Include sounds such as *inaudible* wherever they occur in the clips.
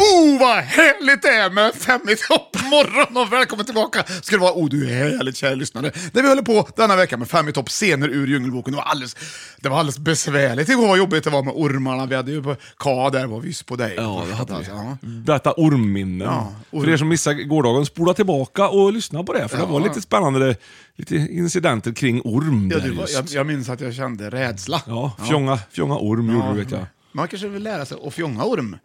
Oh, vad härligt det är med Fem i topp morgon och välkommen tillbaka ska det vara. Oh, du är härligt kära lyssnare. När vi håller på denna vecka med Fem i topp scener ur Djungelboken. Det var alldeles, det var alldeles besvärligt igår vad jobbigt det var med ormarna. Vi hade ju på Ka där var vi just på dig. Ja, det hade vi. alltså, Mm. Ja. Berätta ormminnen. Ja, orm. För er som missade gårdagen, spola tillbaka och lyssna på det. För Ja. det var lite spännande, lite incidenter kring orm. Ja, där du, var- just. jag, jag minns att jag kände rädsla. Ja, fjonga, fjonga orm gjorde du vet jag. Man kanske vill lära sig att fjonga orm.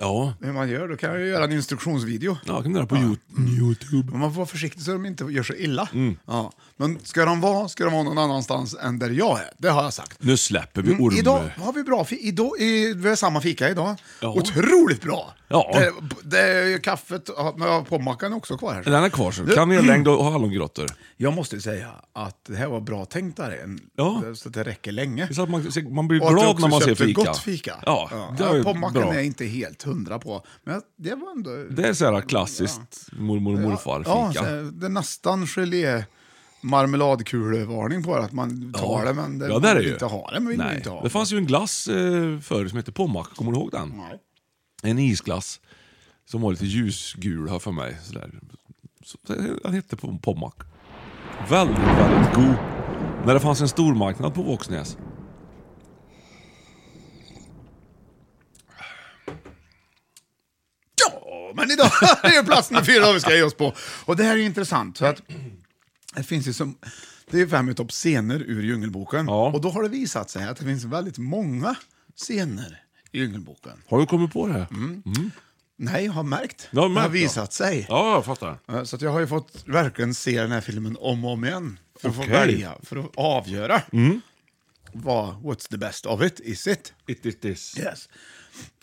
Ja, Hur man gör, då kan jag ju göra en instruktionsvideo. ja kan du göra på Mm. Yout- Youtube. Men man får vara försiktig så de inte gör sig illa. Mm. Ja. Men ska de vara, ska de vara någon annanstans än där jag är. Det har jag sagt. Nu släpper vi Mm, orm. Idag har vi bra fika. Idag, i, vi har samma fika idag. Ja. Otroligt bra! Ja. Det, det är ju kaffet, ja, men jag har pommacken också kvar här. Den är kvar så. Kanellängd och hallongrottor. Jag måste ju säga att det här var bra tänkt där. En- Ja. Så att det räcker länge. Det är så att man, man blir Och att du glad också när man ser köpte fika. gott fika. Ja, det var ju pommacken bra. är jag inte helt hundra på. Men det var ändå... Det är så här klassiskt mormor och morfar Ja, så fika. här, det är nästan gelé marmeladkulevarning på det, att man tar det men det, ja, där är man ju. vill inte ha det. Man vill Nej. inte ha Det fanns ju en glass eh, förr som hette Pommac, kommer du ihåg den? Nej. En isglass som var lite ljusgul här för mig. Sådär. Så, den hette Pom- Pommac. Väldigt, väldigt god. När det fanns en stormarknad på Våxnäs. Ja, men idag *laughs* är det plats nummer fyra vi ska ge oss på. Och det här är ju intressant. För att det finns ju som... Det är ju fem i topp scener ur Djungelboken. Ja. Och då har det visat sig att det finns väldigt många scener i Djungelboken. Har du kommit på det? här? Mm. Nej, jag har märkt. Du har det har märkt, ja. visat sig. Ja, jag fattar. Eh, Så att jag har ju fått verkligen se den här filmen om och om igen. För att få Okej. Mm. välja, för att avgöra. Vad, what's the best of it, is it? It, it is. Yes.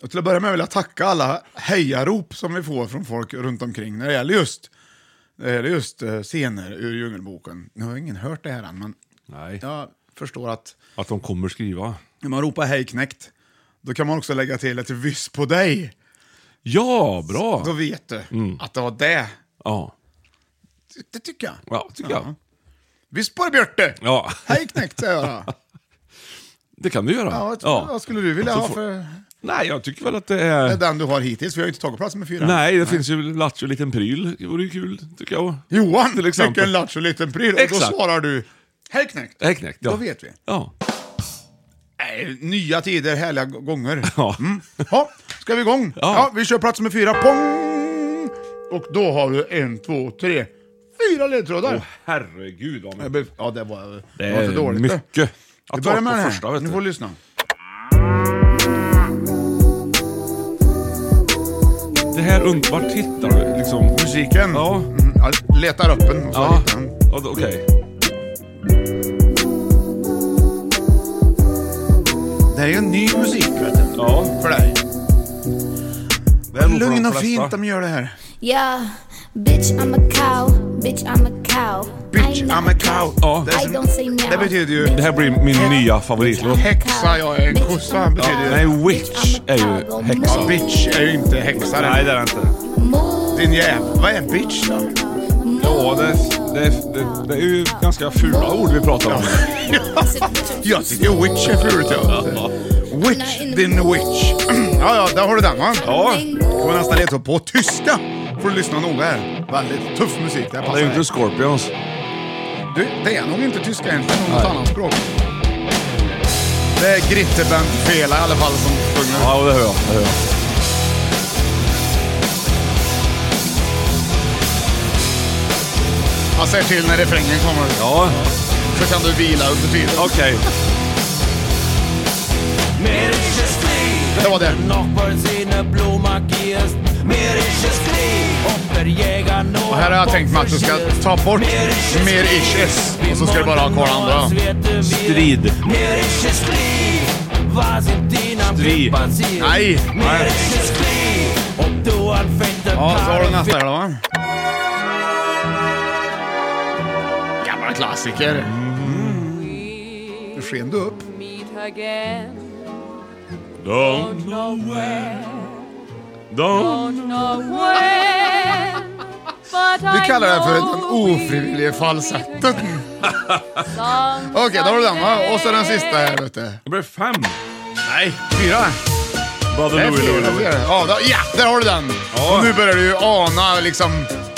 Och till att börja med vill jag tacka alla hejarop som vi får från folk runt omkring när det gäller just, när det gäller just eh, scener ur Djungelboken. Nu har ingen hört det här än, men Nej, jag förstår att att de kommer skriva. när man ropar hej knekt, då kan man också lägga till ett vyss på dig. Ja, Mm. bra! Då vet du att det var det. Ja, Det- Det tycker jag. ja tycker jag. Visst på dig, Björte! Ja, Hej knekt, säger jag *laughs* då. det kan du göra. Ja, vad, vad skulle du vilja Så ha får- för Nej, jag tycker väl att det är... den du har hittills? Vi har ju inte tagit plats med fyra. Nej, det finns ju Lattjo liten pryl. Det vore ju kul, tycker jag. Johan, Till exempel. vilken lattjo liten pryl. Och då Exakt. svarar du, hej knekt. Det är knäckt, ja. Då vet vi. Ja. Nej, nya tider, härliga g- gånger. *laughs* Ja. Mm. Ja, ska vi igång? Ja. vi kör plats nummer fyra. Pong! Och då har du en, två, tre, fyra ledtrådar. herregud vad Jag blev- Ja, det var, Det det var är inte dåligt. mycket. det. Att Vi börjar med ta den här. första, vet Ni du. får lyssna. Det här, und- vart hittar du liksom? Musiken. Ja. Mm, jag letar upp den. och så Ja, hittar jag den. ja då- okej. Det här är ju en ny musik, vet du. Ja. För dig. Det är nog för de Lugn och flesta. fint de gör det här. Yeah, bitch, I'm a cow. Bitch, I'm a cow. Bitch, I'm a cow. Ja. There's- I don't say no. Det betyder ju... Det här blir min nya favoritlåt. Häxa, jag är en kossa. Betyder ju... Nej, witch är ju häxa. Ja, bitch är ju inte häxa. Nej, det är det inte. Din jävel. Vad är bitch då? Ja, det, det, det, det är ju ganska fula ord vi pratar om. *laughs* Jag tycker witch är fult ja. Witch, din witch. *clears throat* ja, ja, där har du den va? Ja. kommer nästan leta upp på tyska. Får du lyssna noga här. Väldigt tuff musik. Det här Ja, passar Det är ju inte dig. Scorpions. Du, det är nog inte tyska egentligen, något annat språk. Det är Gritteband Fela i alla fall som sjunger. Ja, det hör jag. Det hör jag. Jag säger till när refrängen kommer. Ja, Så kan du vila under tiden. okej. Det var det. Och här har jag tänkt mig att du ska ta bort mer ishes och så ska du bara ha kvar andra. Strid. Strid. Nej! Ja, så har du nästa här då va? Gamla klassiker. Mm. Nu sken du upp. Don't know where. Don't. Vi kallar det här för den ofrivillige falsetten. *laughs* Okej, då har du den va? Och så den sista här vet du. Det blev fem. Nej, fyra. Det Brother är Louie, fyra. Louie, fyra. Louie. Ja, då, ja, där har du den. Ja. Och nu börjar du ju ana liksom,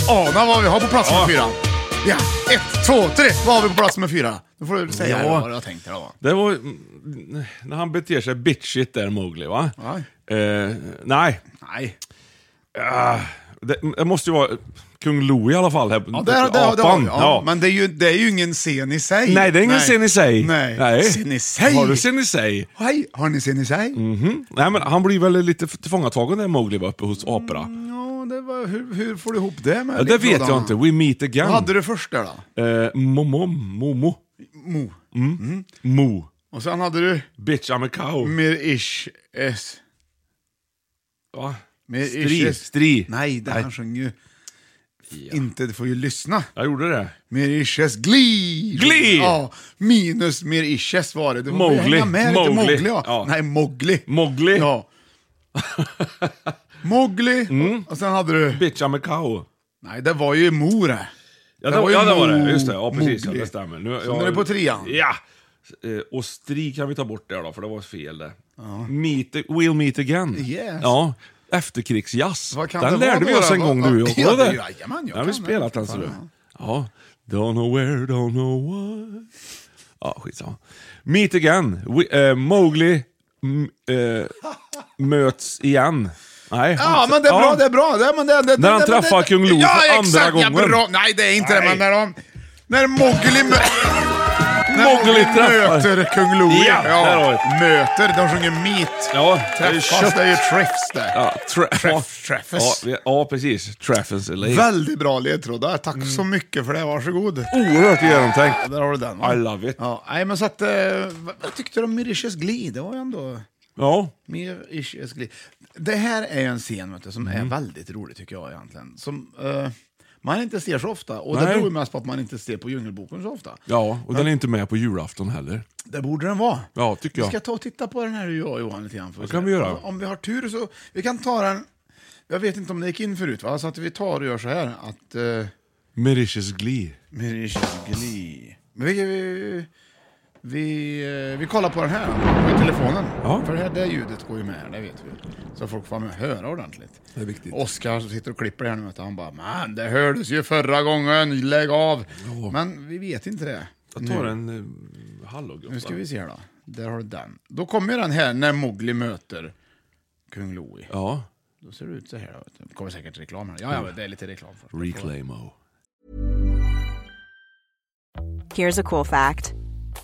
ana vad vi har på plats nummer Ja. fyra. Ja, ett, två, tre. Vad har vi på plats nummer fyra? Då får du säga Ja. vad du har tänkt dig då. Det var mm, när han beter sig bitchigt där, Mowgli va? Ja. Eh, nej, Nej. det, det måste ju vara kung Louie i alla fall. Här, Ja, det, det, det, det har vi. Ja, Men det är, ju, det är ju ingen scen i sig. Nej, det är ingen scen i sig. Nej. Scen i sig. Har du Mm. scen i sig? Hej, har ni scen i sig? Nej, men han blir väl lite tillfångatagen när Mowgli var uppe hos aporna. Mm, Ja, det var, hur, hur får du ihop det med liksom Ja, det vet jag inte. We meet again. Vad hade du först där då? Eh, Momo, Momo, Mm. Mo. Mm. Mo. Och sen hade du Bitch, I'm a cow. mer ish s. Va? Mer Stri, ish s. stri. Nej, det han sjöng ju. Inte, du får ju lyssna. Jag gjorde det. Mer ish s. Glee! Glee! Ja, minus mer ish s var det. Du får Mowgli. hänga med lite. Mowgli. Mowgli. Ja. Ja. Nej, Mowgli. Mowgli. *laughs* Ja. Mowgli. Mm. Och sen hade du... Bitch, I'm a cow. Nej, det var ju Mo det. Ja, Det det, var ju ja, det var det. Mo- Just det. Ja, precis. Ja, Mowgli. det stämmer. Nu, Så nu är det på trean. Ja. Eh, Och stri kan vi ta bort där då, för det var fel det. Meet, we'll meet again. Yes. Ja. Efterkrigsjazz. Vad kan Den det lärde vara vi då, oss en då? gång du och jag. Ja, det- Var det? jajamän, jag Den har vi kan det. spelat den ser du. Ja. Don't know where, don't know why. Ja, skitsamma. Meet again. We, eh, Mowgli m, eh, *laughs* möts igen. Nej, Ja, han- men det är ja. bra, det är bra. Det, är- men det, det, När han det, det- träffar det- kung Lo ja, för andra exakt, Ja, gången. bra. Nej, det är inte det, men när de... När Mowgli mö- när Mowgli Mowgli träffar. möter kung Louie. Ja, där har vi. Möter, de sjunger meet. Ja, det är Träffas, kött. det är ju träffs där. Ja, tra- Träff- träffes. Ja, vi- ja, precis. Träffes. eller- Väldigt bra ledtrådar. Tack Mm. så mycket för det, varsågod. Oerhört genomtänkt. Där har du den. I love it. Ja, nej, men så att, eh, vad, vad tyckte du om Mauritius Glee? Det var ju ändå... Ja. Mer ish jag skulle... Det här är ju en scen vet du, som Mm. är väldigt rolig tycker jag egentligen. Som eh, man inte ser så ofta. Och det Nej. beror ju mest på att man inte ser på Djungelboken så ofta. Ja, och den är inte med på julafton heller. Det borde den vara. Ja, tycker jag. Vi ska ta och titta på den här du och jag, Johan lite grann. för att kan se. vi göra. Om- Om vi har tur så... Vi kan ta den... Jag vet inte om det gick in förut va? Så att vi tar och gör så här att... Eh, Mauritius Glee. Mauritius Glee. Men vi, vi, vi, eh, vi kollar på den här på telefonen. Ja. För det här det ljudet går ju med, det vet vi. Så folk får med höra ordentligt. Det är viktigt. Oskar som sitter och klipper här nu, vet du, han bara man det hördes ju förra gången, lägg av. Men vi vet inte det. Jag tar en eh, Nu hallongubbe. ska vi se här då. Där har du den. Då kommer ju den här när Mowgli möter Kung Louie. Ja. Då ser det ut så här. Då. vet du. Det kommer säkert reklam här. Ja, Mm. ja, men det är lite reklam. först. Reclaimo. Here's a cool fact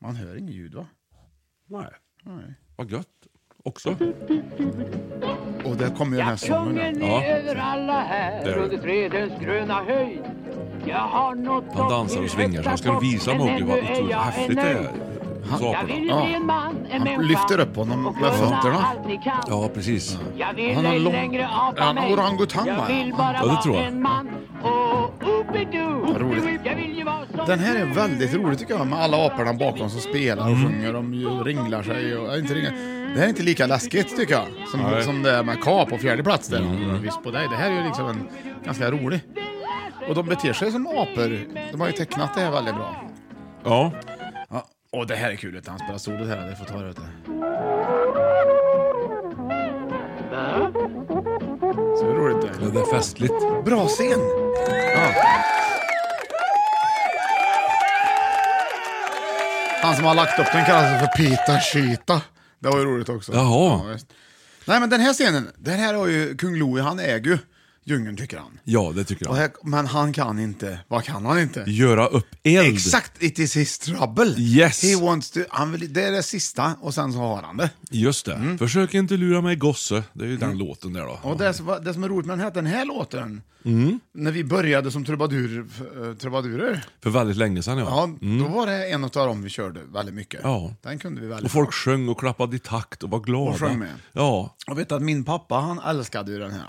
Man hör inget ljud va? Nej. Nej. Vad gött också. Och där kommer ju den här sången. ja. Ja. Där. Han dansar och svingar så han ska visa Mowgli vad otroligt häftigt det är. Saporna. Ja. Han lyfter upp honom med fötterna. Ja, precis. Han har lång... Är han orangutang va? Ja, det tror jag. Vad roligt. Den här är väldigt rolig tycker jag med alla aporna bakom som spelar och sjunger. De ju ringlar sig och... äh, Inte ringlar. Det här är inte lika läskigt tycker jag som, som det är med Ka på fjärde plats där. Visst på dig. Det här är ju liksom en ganska rolig. Och de beter sig som apor. De har ju tecknat det här väldigt bra. Ja. Ja. Och det här är kul att han spelar solo här. Det får ta det vet du. Så roligt det Det är festligt. Bra scen! Han som har lagt upp den kallas för Pita Shita. Det var ju roligt också. Jaha. Ja, visst. Nej men den här scenen, den här har ju kung Louie, han äger ju djungeln tycker han. Ja, det tycker Och jag. här, men han kan inte, vad kan han inte? Göra upp eld. Exakt, it is his trouble. Yes. He wants to, han vill, det är det sista och sen så har han det. Just det. Mm. Försök inte lura mig gosse. Det är ju den låten där då. Och det, som, var- det som är roligt med den här, den här låten, Mm. när vi började som trubadur, eh, trubadurer, För väldigt länge sedan ja. Ja, då var det en av dem vi körde väldigt mycket. Mm. Ja. Den kunde vi väldigt Och folk sjöng och klappade i takt och var glada. Och sjöng med. Ja. Jag vet att min pappa, han älskade ju den här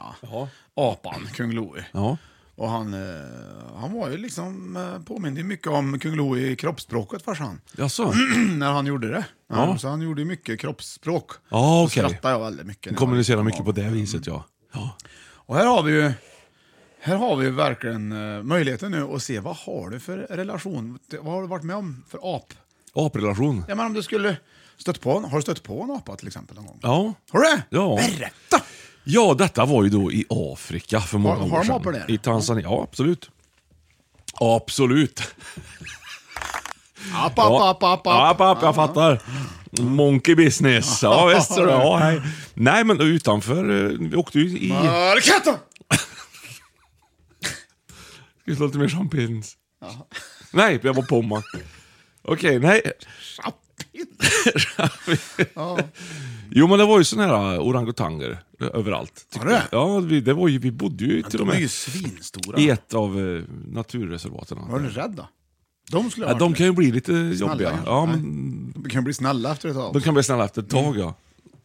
apan, Kung Louie. Ja. Och han, eh, han var ju liksom, eh, påminde ju mycket om Kung Louie i kroppsspråket farsan. *clears throat* Jaså? när han gjorde det. Ja. Så han gjorde ju mycket kroppsspråk. Ja, Då okej. skrattade jag väldigt mycket. när jag var Kommunicera liten. mycket på det viset ja. Ja. Och här har vi ju här har vi ju verkligen eh, möjligheten nu att se vad har du för relation, vad har du varit med om för ap? Aprelation. Ja, men om du skulle stött på, en- har du stött på en apa till exempel någon gång? Ja. Har du det? Ja. Berätta! Ja, detta var ju då i Afrika för många Har- år har de sedan. apor där? I Tanzania, ja absolut. Absolut. App, app, app, app, app. App, app, jag fattar. Monkey *laughs* business. Ja, visst. så det- Ja, hej. Nej, men utanför, eh, vi åkte ju i... Mörkatta! Ska vi slå lite mer champins? Nej, jag var Pommac. Okej, nej. Jo, men det var ju såna här äh, orangutanger eh, överallt. tyckte Var det? jag. Ja, vi, det var ju, vi bodde ju till och De är ju med svinstora. i ett av eh, naturreservaten. Var du rädd då? De skulle ha Ja, varit de kan det. ju bli lite jobbiga. kanske. Ja, Nej. men, De kan bli snälla efter ett tag. de kan bli snälla efter ett tag, ja.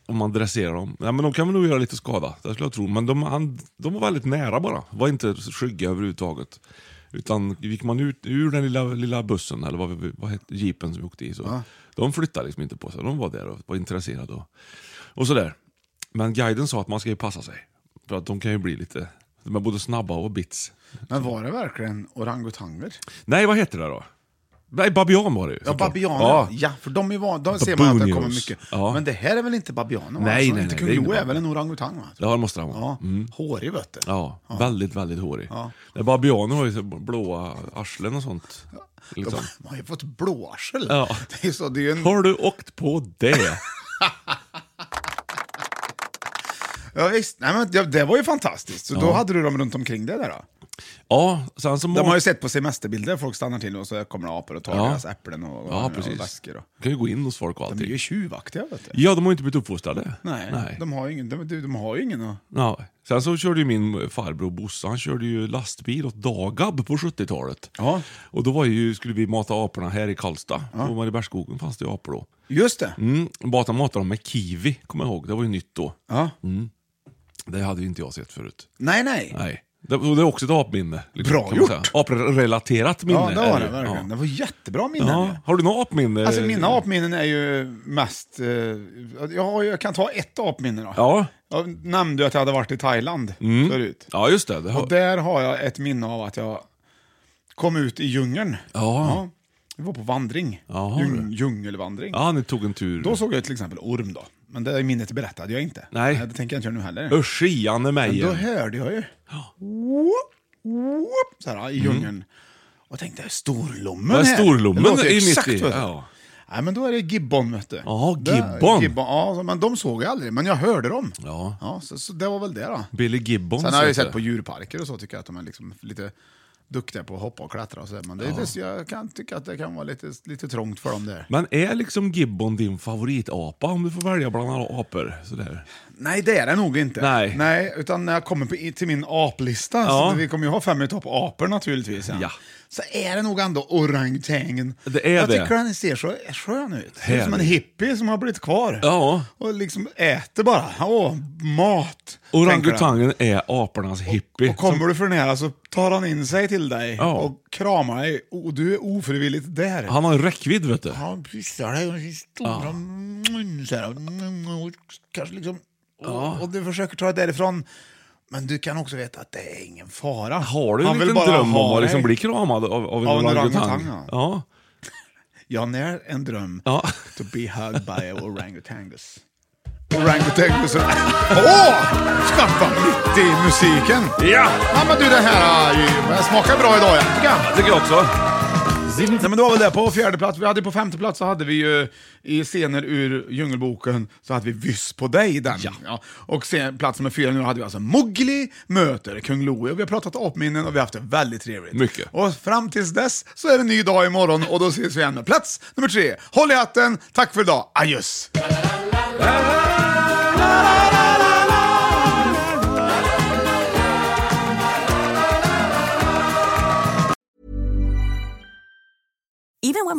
Om man dresserar dem. Ja, men de kan väl nog göra lite skada, det skulle jag tro. Men de, han, de var väldigt nära bara. Var inte skygga överhuvudtaget. Utan gick man ut ur den lilla, lilla bussen, eller vad, vi- vad hette jeepen som vi åkte i, så de flyttade liksom inte på sig. De var där och var intresserade. Och, och sådär. Men guiden sa att man ska ju passa sig. För att de kan ju bli lite... De är både snabba och bits. Men var det verkligen orangutanger? Nej, vad heter det då? Nej, babian var det ju. Ja, såklart. babianer. Ja. för de är van, de ser man att det kommer Babunios. mycket. Ja. Men det här är väl inte babianer? va? Nej, Alltså, nej, inte nej, det är Kung Mm. Lo inte är väl en orangutang? Va? Ja, det måste han vara. Ja. Hårig vet du. Ja, väldigt, väldigt hårig. Ja. Babianer har ju så blåa arslen och sånt. De, Liksom. de har ju fått blåarsel. Ja. *laughs* Det är så, det är ju en Har du åkt på det? Ja, visst. Nej, men, ja, det var ju fantastiskt. Så då hade du dem runt omkring dig där då? Ja, sen så må- De har ju sett på semesterbilder folk stannar till och så kommer det apor och tar Ja. deras äpplen och, och, ja, och precis. väskor. Och. kan ju gå in hos folk och De är allting. ju tjuvaktiga vet du. Ja, de har ju inte blivit uppfostrade. Nej, Nej. De, har ju ingen, de, de har ju ingen att... Ja. Sen så körde ju min farbror Bosse, han körde ju lastbil åt Dagab på 70-talet. Ja. Och då var ju, skulle vi mata aporna här i Karlstad. På Mariebergsskogen fanns det ju apor då. Just det! Mm, bara matade dem med kiwi, kommer jag ihåg. Det var ju nytt då. Ja. Det hade ju inte jag sett förut. Nej, nej. Nej. Det, och det är också ett apminne. liksom, Bra kan man gjort. säga. Aprelaterat minne. Ja, det var är det ju. verkligen. Det Ja. var jättebra minnen. Ja. Eh, ju. Har du något apminne? Alltså mina apminnen är ju mest... Eh, jag, har ju- jag kan ta ett apminne då. Ja. Mm. Jag nämnde ju att jag hade varit i Thailand förut. ja, just det. det har... Och där har jag ett minne av att jag kom ut i djungeln. Ja. Vi var på vandring. Jaha, Djung, djungelvandring. ja, ni tog en tur. Då såg jag till exempel orm då. Men det minnet berättade jag inte. Nej. Det tänker jag inte göra nu heller. Usch, i Men då Anne Meijer. hörde jag ju... Whoop, whoop, så här, i djungeln. Och tänkte, storlommen Mm. Vad är här? storlommen Det låter i mitt exakt, i? vet du. Ja. Nej, men då är det gibbon, vet du. Ja, Det- gibbon. gibbon. Ja, så- men de såg jag aldrig, men jag hörde dem. Ja. så, så det var väl det då. Billy Gibbons. Sen har jag ju vet sett du. på djurparker och så, tycker jag att de är liksom lite duktiga på att hoppa och klättra och så där. Men det, det, jag kan tycka att det kan vara lite, lite trångt för dem där. Men är liksom Gibbon din favoritapa om du får välja bland alla apor? Sådär. Nej, det är det nog inte. Nej. utan när jag kommer på, till min aplista, Ja. så vi kommer ju ha fem i topp apor naturligtvis, sen, Ja. så är det nog ändå orangutangen. Det är jag det. tycker den ser så skön ut. Ser ut som en Härlig. hippie som har blivit kvar. Ja. Och liksom äter bara. Åh, mat. tänker den. Orangutangen är apornas hippie. Och kommer du för nära så tar han in sig till dig Ja. och kramar dig och du är ofrivilligt där. som, han har en räckvidd vet du. Han pussar dig med sin stora mun så här. och Kanske liksom... Och, och du försöker ta det därifrån. Men du kan också veta att det är ingen fara. Har du en Han vill liten bara dröm om ha att dig. liksom bli kramad av, av en Av en orangutang? orangutang, ja. ja. Jag när en dröm. Ja. To be hugged by a orangutangus. Orangutangus. Åh! Skaffa mitt i musiken. Ja! Ja men du den här eh, smakar bra idag jag tycker jag. Jag tycker jag också. Nej, men det var väl det på fjärde plats. Vi hade på femte plats så hade vi ju i scener ur Djungelboken så hade vi Vyss på dig i den. Ja. Och sen, plats nummer fyra nu hade vi alltså Mowgli möter Kung Loe. Och Vi har pratat apminnen och vi har haft det väldigt trevligt. Mycket. Och fram tills dess så är det en ny dag imorgon och då ses vi igen med plats nummer tre. Håll i hatten, tack för idag, adjöss! Even when